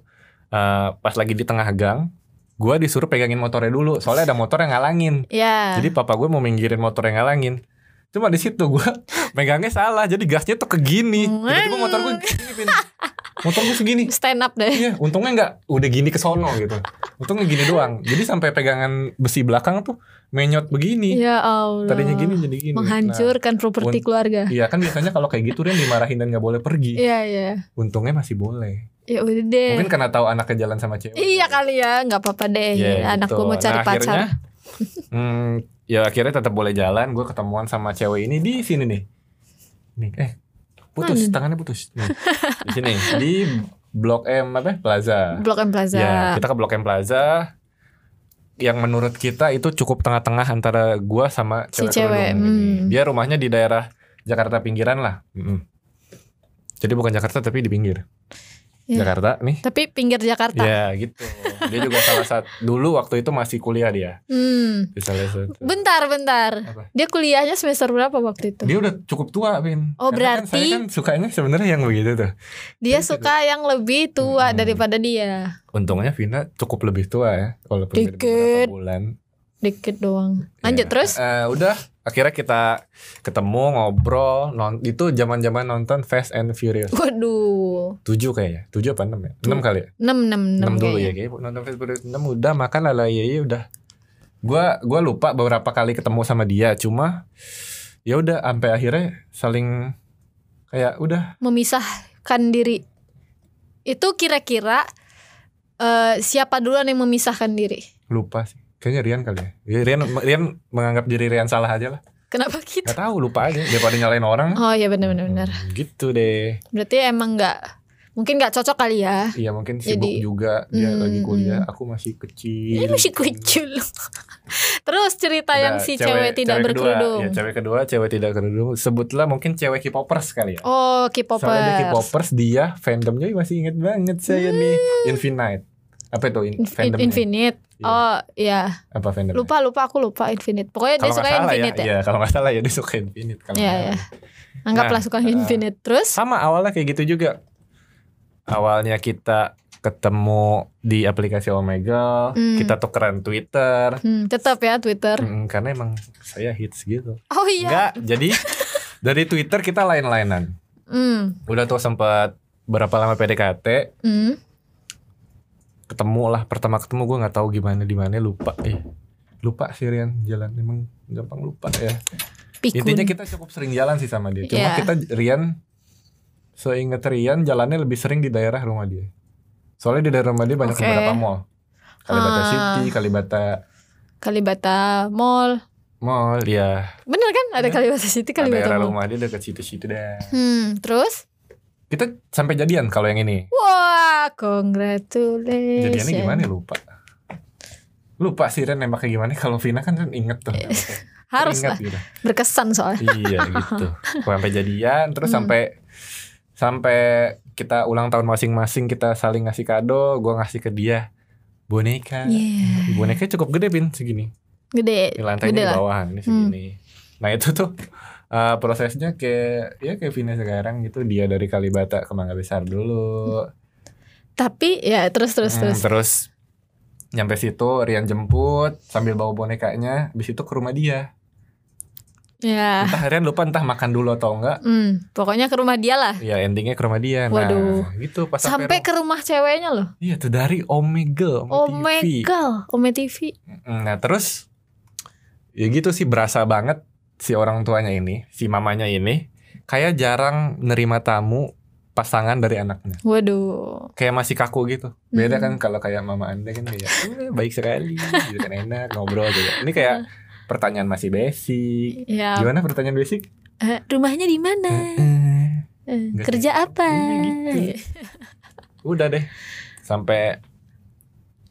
Speaker 2: eh, pas lagi di tengah gang, gua disuruh pegangin motornya dulu, soalnya ada motor yang ngalangin.
Speaker 1: Iya.
Speaker 2: Jadi papa gue mau minggirin motor yang ngalangin. Cuma di situ gue megangnya salah, jadi gasnya tuh kegini. Tiba-tiba motor gue gini, Pin. motor gue segini.
Speaker 1: stand up deh.
Speaker 2: Iya, untungnya nggak udah gini ke sono gitu. Untungnya gini doang. Jadi sampai pegangan besi belakang tuh menyot begini.
Speaker 1: Ya Allah.
Speaker 2: Tadinya gini Nah, jadi gini.
Speaker 1: Menghancurkan properti
Speaker 2: un-
Speaker 1: keluarga.
Speaker 2: Nah, iya kan biasanya kalau kayak gitu dia dimarahin dan nggak boleh pergi.
Speaker 1: Iya, iya.
Speaker 2: Untungnya masih boleh.
Speaker 1: Ya udah deh.
Speaker 2: Mungkin karena tahu anaknya jalan sama cewek.
Speaker 1: Iya kali ya, nggak apa-apa deh.
Speaker 2: Iya,
Speaker 1: Anakku
Speaker 2: gitu.
Speaker 1: mau cari
Speaker 2: Nah,
Speaker 1: pacar.
Speaker 2: akhirnya, hmm, ya akhirnya tetap boleh jalan. Gue ketemuan sama cewek ini di sini nih. Nih, eh putus
Speaker 1: Mana?
Speaker 2: tangannya putus. Nih, di sini di Blok M apa? ya? Plaza.
Speaker 1: Blok M Plaza.
Speaker 2: Ya kita ke Blok M Plaza. Yang menurut kita itu cukup tengah-tengah antara gue sama
Speaker 1: Si
Speaker 2: cewek.
Speaker 1: cewek,
Speaker 2: kerudung ini.
Speaker 1: hmm.
Speaker 2: Dia rumahnya di daerah Jakarta pinggiran lah. Mm-mm. Jadi bukan Jakarta tapi di pinggir.
Speaker 1: Iya.
Speaker 2: Jakarta nih.
Speaker 1: Tapi pinggir Jakarta.
Speaker 2: Ya gitu. Dia juga salah satu dulu waktu itu masih kuliah dia
Speaker 1: Hmm.
Speaker 2: di salah satu.
Speaker 1: Bentar, bentar.
Speaker 2: Apa?
Speaker 1: Dia kuliahnya semester berapa waktu itu?
Speaker 2: Dia udah cukup tua, Pin.
Speaker 1: Oh,
Speaker 2: Karena kan
Speaker 1: berarti-
Speaker 2: saya kan sukanya sebenarnya yang begitu tuh.
Speaker 1: Dia suka yang lebih tua
Speaker 2: Hmm.
Speaker 1: daripada dia.
Speaker 2: Untungnya Vina cukup lebih tua ya, walaupun beda
Speaker 1: Dikit.
Speaker 2: beberapa bulan.
Speaker 1: Dikit doang. Lanjut
Speaker 2: Ya.
Speaker 1: terus.
Speaker 2: Eh, udah akhirnya kita ketemu ngobrol non itu zaman-zaman nonton Fast and Furious
Speaker 1: Waduh.
Speaker 2: 7 kayaknya 7 apa 6 ya
Speaker 1: Hmm.
Speaker 2: 6 kali ya
Speaker 1: 6 6
Speaker 2: 6,
Speaker 1: 6,
Speaker 2: dulu ya kayaknya nonton Fast and Furious 6 udah makan lala iya iya udah gua gua lupa beberapa kali ketemu sama dia cuma ya udah sampai akhirnya saling kayak udah
Speaker 1: Memisahkan diri. Itu kira-kira eh, siapa duluan yang memisahkan diri?
Speaker 2: lupa sih kayaknya Rian kali ya Ya, Rian Rian menganggap diri Rian salah aja lah
Speaker 1: Kenapa gitu?
Speaker 2: nggak tahu lupa aja daripada nyalain orang
Speaker 1: Oh ya benar benar benar.
Speaker 2: Hmm, gitu deh
Speaker 1: Berarti emang nggak mungkin nggak cocok kali ya.
Speaker 2: iya mungkin sibuk
Speaker 1: Jadi-
Speaker 2: juga dia
Speaker 1: Hmm,
Speaker 2: lagi kuliah aku masih kecil
Speaker 1: Ini masih kucul. Terus cerita yang
Speaker 2: Udah,
Speaker 1: si cewek, tidak
Speaker 2: cewek kedua.
Speaker 1: berkerudung.
Speaker 2: ya, cewek kedua cewek tidak berkerudung sebutlah mungkin cewek K-popers kali ya
Speaker 1: Oh,
Speaker 2: soalnya dia
Speaker 1: K-popers.
Speaker 2: K-popers dia fandomnya masih inget banget saya nih Infinite apa itu in,
Speaker 1: Hmm. Inf-
Speaker 2: fandomnya?
Speaker 1: Infinite.
Speaker 2: Iya.
Speaker 1: Oh, iya.
Speaker 2: apa fandomnya?
Speaker 1: Lupa lupa aku lupa Infinite. Pokoknya dia
Speaker 2: kalau nggak
Speaker 1: suka
Speaker 2: salah ya,
Speaker 1: Infinite ya.
Speaker 2: Iya, kalau nggak salah ya dia suka Infinite kalau
Speaker 1: Iya,
Speaker 2: nggak
Speaker 1: iya. Anggaplah suka
Speaker 2: eh,
Speaker 1: Infinite. Terus
Speaker 2: sama awalnya kayak gitu juga awalnya kita ketemu di aplikasi Omega
Speaker 1: Hmm.
Speaker 2: kita tukeran Twitter
Speaker 1: hmm, tetap ya Twitter.
Speaker 2: Mm, karena emang saya hits gitu
Speaker 1: Oh iya.
Speaker 2: enggak jadi dari Twitter kita lain-lainan
Speaker 1: Hmm.
Speaker 2: udah tuh sempat berapa lama PDKT
Speaker 1: Hmm.
Speaker 2: ketemu lah pertama ketemu gue nggak tahu gimana di mana lupa eh lupa sih Rian jalan emang gampang lupa ya
Speaker 1: Pikun.
Speaker 2: intinya kita cukup sering jalan sih sama dia cuma
Speaker 1: Iya.
Speaker 2: kita Rian seingat Rian jalannya lebih sering di daerah rumah dia soalnya di daerah rumah dia banyak
Speaker 1: Oke.
Speaker 2: beberapa mall Kalibata
Speaker 1: Ah.
Speaker 2: City Kalibata
Speaker 1: Kalibata Mall.
Speaker 2: Mall ya
Speaker 1: Bener kan? Ada
Speaker 2: Iya.
Speaker 1: Kalibata City, Kalibata
Speaker 2: daerah
Speaker 1: Mall.
Speaker 2: rumah dia dekat situ-situ deh
Speaker 1: Hmm, terus?
Speaker 2: kita sampai jadian kalau yang ini
Speaker 1: Wah, congratulations.
Speaker 2: jadiannya gimana ya lupa lupa sih Ren nembaknya gimana kalau Vina kan Ren inget tuh
Speaker 1: Harus lah,
Speaker 2: Ingat gitu.
Speaker 1: berkesan soalnya.
Speaker 2: iya gitu sampai jadian terus
Speaker 1: Hmm.
Speaker 2: sampai sampai kita ulang tahun masing-masing kita saling ngasih kado gue ngasih ke dia boneka
Speaker 1: Iya.
Speaker 2: bonekanya cukup gede pin segini
Speaker 1: Gede.
Speaker 2: di lantainya
Speaker 1: Gede
Speaker 2: di
Speaker 1: lah. Hmm.
Speaker 2: bawahan ini segini nah itu tuh uh, prosesnya kayak ya kayak Vina sekarang gitu dia dari Kalibata ke Mangga Besar dulu
Speaker 1: Tapi ya terus terus
Speaker 2: Hmm,
Speaker 1: terus.
Speaker 2: terus nyampe situ Rian jemput sambil bawa bonekanya habis itu ke rumah dia
Speaker 1: Ya.
Speaker 2: entah Rian lupa entah makan dulu atau enggak
Speaker 1: Hmm, pokoknya ke rumah dia lah.
Speaker 2: Ya endingnya ke rumah dia.
Speaker 1: Waduh.
Speaker 2: Nah, gitu pas
Speaker 1: Sampai
Speaker 2: sampai.
Speaker 1: ke rumah ceweknya loh.
Speaker 2: rumah- Iya tuh dari Omegle, Ome
Speaker 1: Oh
Speaker 2: TV.
Speaker 1: my god, Ome TV.
Speaker 2: Mm, Nah terus ya gitu sih berasa banget si orang tuanya ini, si mamanya ini kayak jarang nerima tamu pasangan dari anaknya.
Speaker 1: Waduh.
Speaker 2: Kayak masih kaku gitu. Beda
Speaker 1: Hmm.
Speaker 2: kan kalau kayak mama anda kan kayak "Eh, baik sekali, gitu kan enak ngobrol gitu. Ini kayak pertanyaan masih basic.
Speaker 1: Ya.
Speaker 2: Gimana pertanyaan basic?
Speaker 1: eh, rumahnya di mana?
Speaker 2: Eh,
Speaker 1: Eh,
Speaker 2: Nggak gitu.
Speaker 1: kerja apa?
Speaker 2: Iya, udah deh sampai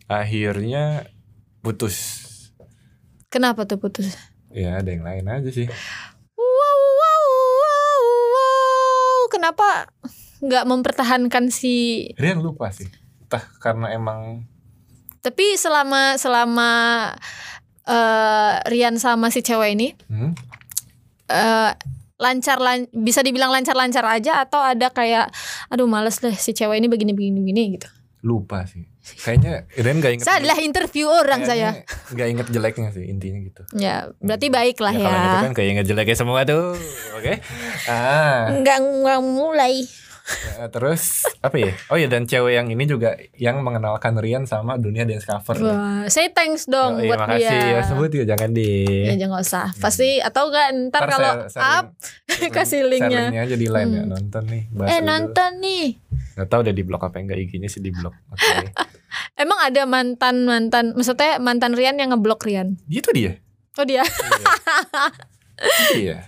Speaker 2: akhirnya putus
Speaker 1: Kenapa tuh putus?
Speaker 2: ya ada yang lain aja sih
Speaker 1: Wow, wow, wow, wow. Kenapa nggak mempertahankan si
Speaker 2: Rian lupa sih entah karena emang
Speaker 1: Tapi selama selama eh, Rian sama si cewek ini
Speaker 2: Hmm?
Speaker 1: eh, lancar lan bisa dibilang lancar-lancar aja atau ada kayak aduh males deh si cewek ini begini begini begini gitu.
Speaker 2: Lupa sih. Kayaknya Ren gak inget.
Speaker 1: Saya adalah interview orang saya.
Speaker 2: Kayaknya Gak inget jeleknya sih intinya gitu.
Speaker 1: Ya, berarti baik lah
Speaker 2: kalau
Speaker 1: ya.
Speaker 2: gitu kan kayak inget jeleknya semua tuh. Oke. Ah,
Speaker 1: Enggak enggak mulai.
Speaker 2: eh, terus apa ya? Oh ya dan cewek yang ini juga yang mengenalkan Rian sama dunia dance cover.
Speaker 1: Wah, saya thanks dong
Speaker 2: Yoi,
Speaker 1: buat
Speaker 2: makasih
Speaker 1: dia.
Speaker 2: ya sebut ya Hmm. jangan deh.
Speaker 1: Ya jangan usah. Pasti atau enggak ntar kalau up kasih linknya.
Speaker 2: Sharingnya aja di line ya
Speaker 1: Hmm.
Speaker 2: nonton nih. Bahas
Speaker 1: Eh
Speaker 2: dulu.
Speaker 1: nonton nih.
Speaker 2: Gak tau udah di blok apa enggak IG-nya sih di blok. Oke.
Speaker 1: Emang ada mantan mantan, maksudnya mantan Rian yang ngeblok Rian.
Speaker 2: gitu dia.
Speaker 1: Oh dia,
Speaker 2: Iya. Iya.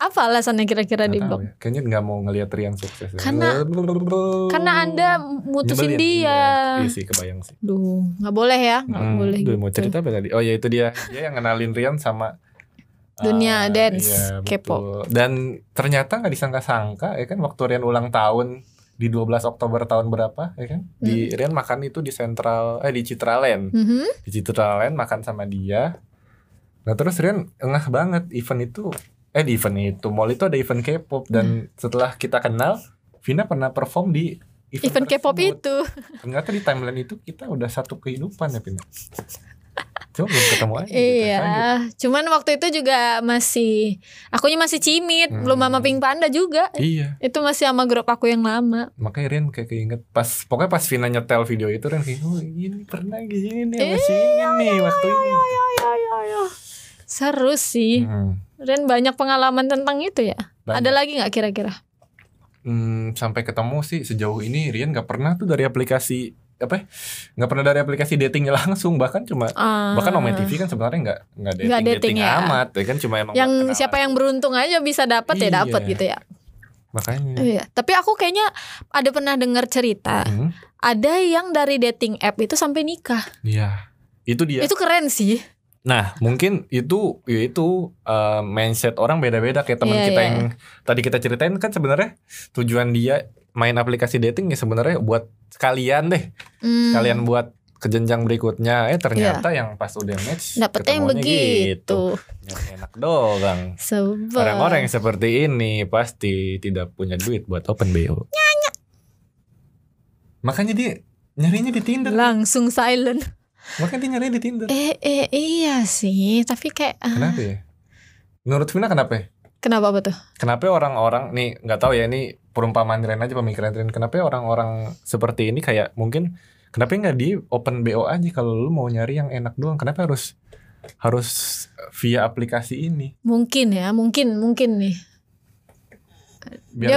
Speaker 1: apa alasannya kira-kira
Speaker 2: Nggak
Speaker 1: di
Speaker 2: tahu
Speaker 1: blok?
Speaker 2: ya. Kayaknya nggak mau ngelihat Rian sukses. ya.
Speaker 1: Karena- Karena anda mutusin
Speaker 2: Nyebelin.
Speaker 1: dia.
Speaker 2: Iya, iya sih kebayang sih.
Speaker 1: Duh, nggak boleh ya, nggak
Speaker 2: Hmm,
Speaker 1: boleh.
Speaker 2: duh,
Speaker 1: Gitu.
Speaker 2: mau cerita apa tadi? Oh ya itu dia. Dia yang ngenalin Rian sama ah,
Speaker 1: Dunia dance,
Speaker 2: iya,
Speaker 1: K-pop.
Speaker 2: betul. Dan ternyata nggak disangka-sangka ya kan waktu Rian ulang tahun di 12 Oktober tahun berapa ya kan?
Speaker 1: Hmm.
Speaker 2: Di Rian makan itu di Central eh di Citraland.
Speaker 1: Mhm.
Speaker 2: Di Citraland makan sama dia. Nah, terus Rian engah banget event itu eh di event itu mall itu ada event
Speaker 1: Hmm.
Speaker 2: K-pop dan setelah kita kenal Vina pernah perform di
Speaker 1: Event K-pop
Speaker 2: tersebut.
Speaker 1: itu,
Speaker 2: Ternyata di timeline itu kita udah satu kehidupan ya Pina. Cuma belum ketemu gitu,
Speaker 1: iya.
Speaker 2: aja. Kita lanjut.
Speaker 1: Cuman waktu itu juga masih, akunya masih cimit,
Speaker 2: Hmm.
Speaker 1: belum sama Pink Panda juga.
Speaker 2: Iya.
Speaker 1: Itu masih sama grup aku yang lama.
Speaker 2: Makanya Rian kayak keinget pas pokoknya pas Vina nyetel video itu Rian kayak oh ini pernah gini nih sama si ini
Speaker 1: Iya,
Speaker 2: nih waktu ini.
Speaker 1: Seru sih.
Speaker 2: Hmm.
Speaker 1: Rian banyak pengalaman tentang itu ya.
Speaker 2: Banyak.
Speaker 1: Ada lagi nggak kira-kira?
Speaker 2: Hmm, sampai ketemu sih sejauh ini Rian nggak pernah tuh dari aplikasi apa ya? nggak pernah dari aplikasi datingnya langsung bahkan cuma
Speaker 1: Ah.
Speaker 2: bahkan Omay TV kan sebenarnya nggak nggak dating,
Speaker 1: Nggak dating
Speaker 2: dating
Speaker 1: ya.
Speaker 2: amat ya kan cuma emang
Speaker 1: yang
Speaker 2: buat kenalan.
Speaker 1: siapa yang beruntung aja bisa dapat ya
Speaker 2: Iya.
Speaker 1: dapat gitu ya.
Speaker 2: makanya
Speaker 1: Iya. Tapi aku kayaknya ada pernah dengar cerita
Speaker 2: Hmm,
Speaker 1: ada yang dari dating app itu sampai nikah.
Speaker 2: iya itu dia
Speaker 1: Itu keren sih.
Speaker 2: Nah, mungkin itu ya itu eh, mindset orang beda-beda kayak teman
Speaker 1: Iya,
Speaker 2: kita
Speaker 1: iya.
Speaker 2: yang tadi kita ceritain kan sebenarnya tujuan dia main aplikasi dating ya sebenarnya buat sekalian deh,
Speaker 1: Hmm.
Speaker 2: sekalian buat ke jenjang berikutnya. Eh ternyata yang pas udah match
Speaker 1: Iya. dapetnya yang
Speaker 2: ketemuannya gitu.
Speaker 1: begitu.
Speaker 2: Yang enak doang.
Speaker 1: Sebab
Speaker 2: Orang-orang yang seperti ini pasti tidak punya duit buat open BO. Makanya dia nyarinya di Tinder.
Speaker 1: langsung silent.
Speaker 2: Makanya dia nyarinya di Tinder.
Speaker 1: Eh, eh iya sih, tapi kayak ah,
Speaker 2: Kenapa ya? Menurut Vina kenapa ya?
Speaker 1: kenapa betul?
Speaker 2: kenapa orang-orang nih nggak tahu ya ini perumpamaan Ren aja pemikiran Ren kenapa orang-orang seperti ini kayak mungkin kenapa nggak di open bo aja kalau lu mau nyari yang enak doang kenapa harus harus via aplikasi ini
Speaker 1: Mungkin ya, mungkin mungkin nih.
Speaker 2: biar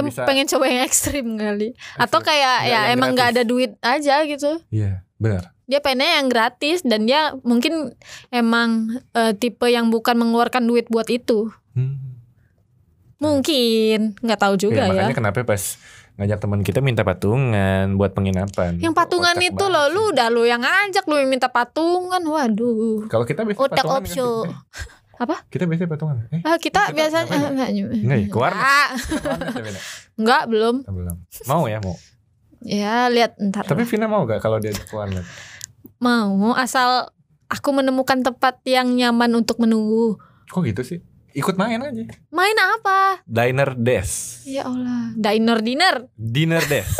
Speaker 1: Dia
Speaker 2: bisa
Speaker 1: pengen coba yang ekstrim kali. Atau kayak
Speaker 2: Nggak,
Speaker 1: ya
Speaker 2: yang
Speaker 1: emang nggak ada
Speaker 2: gratis.
Speaker 1: duit aja gitu.
Speaker 2: iya benar
Speaker 1: dia pengennya yang gratis dan dia mungkin emang eh, tipe yang bukan mengeluarkan duit buat itu
Speaker 2: Hmm.
Speaker 1: mungkin nggak tahu juga
Speaker 2: Iya,
Speaker 1: ya,
Speaker 2: makanya kenapa pas ngajak teman kita minta patungan buat penginapan
Speaker 1: yang patungan
Speaker 2: Otak
Speaker 1: itu
Speaker 2: banget
Speaker 1: loh
Speaker 2: sih.
Speaker 1: lu udah lu yang ngajak lu yang minta patungan waduh
Speaker 2: kalau kita biasa
Speaker 1: Otak
Speaker 2: patungan kan,
Speaker 1: opsio.
Speaker 2: Pin?
Speaker 1: Apa?
Speaker 2: kita biasa patungan eh
Speaker 1: ah kita
Speaker 2: Kita
Speaker 1: biasanya
Speaker 2: ngapain?
Speaker 1: enggak
Speaker 2: Enggak ya, keluar.
Speaker 1: Ah,
Speaker 2: patungan ya, Vina?
Speaker 1: enggak belum
Speaker 2: belum mau ya mau
Speaker 1: ya lihat ntar
Speaker 2: tapi Vina mau gak kalau dia keluar
Speaker 1: mau asal aku menemukan tempat yang nyaman untuk menunggu
Speaker 2: kok gitu sih ikut main aja
Speaker 1: main apa
Speaker 2: diner desk
Speaker 1: ya Allah diner dinner
Speaker 2: dinner desk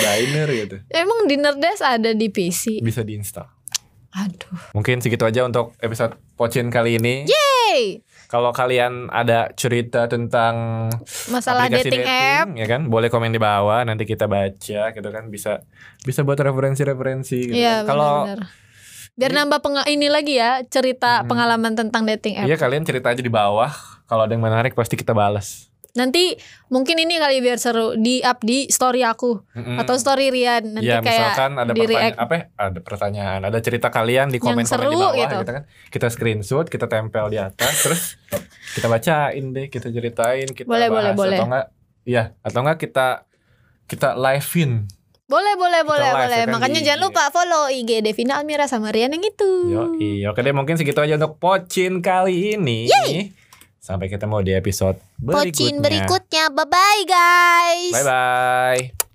Speaker 2: diner gitu
Speaker 1: emang dinner desk ada di PC
Speaker 2: bisa diinstal
Speaker 1: aduh
Speaker 2: mungkin segitu aja untuk episode pocin kali ini
Speaker 1: hey
Speaker 2: kalau kalian ada cerita tentang
Speaker 1: masalah
Speaker 2: aplikasi
Speaker 1: dating, app
Speaker 2: ya kan boleh komen di bawah nanti kita baca gitu kan bisa bisa buat referensi-referensi gitu
Speaker 1: iya
Speaker 2: kan. kalau
Speaker 1: benar-benar. biar nambah penga- ini lagi ya cerita
Speaker 2: Hmm.
Speaker 1: pengalaman tentang dating app
Speaker 2: iya kalian cerita aja di bawah kalau ada yang menarik pasti kita balas
Speaker 1: nanti mungkin ini kali biar seru di up di story aku
Speaker 2: Mm-mm.
Speaker 1: atau story Rian nanti
Speaker 2: ya
Speaker 1: kayak
Speaker 2: Hmm. misalkan ada
Speaker 1: di react.
Speaker 2: pertanyaan apa ya, ada pertanyaan ada cerita kalian di komen komen
Speaker 1: seru
Speaker 2: di bawah
Speaker 1: gitu.
Speaker 2: gitu. kan kita screenshot kita tempel di atas terus kita bacain deh kita ceritain kita
Speaker 1: Boleh, boleh,
Speaker 2: bahas
Speaker 1: boleh.
Speaker 2: atau enggak iya atau enggak kita kita live-in
Speaker 1: boleh boleh boleh
Speaker 2: live
Speaker 1: boleh
Speaker 2: ya kan
Speaker 1: makanya
Speaker 2: di
Speaker 1: jangan
Speaker 2: IG.
Speaker 1: lupa follow IG Devina Almira sama Rian yang itu
Speaker 2: Yoi, oke deh mungkin segitu aja untuk pocin kali ini sampai ketemu di episode berikutnya
Speaker 1: pocin berikutnya bye bye guys
Speaker 2: bye bye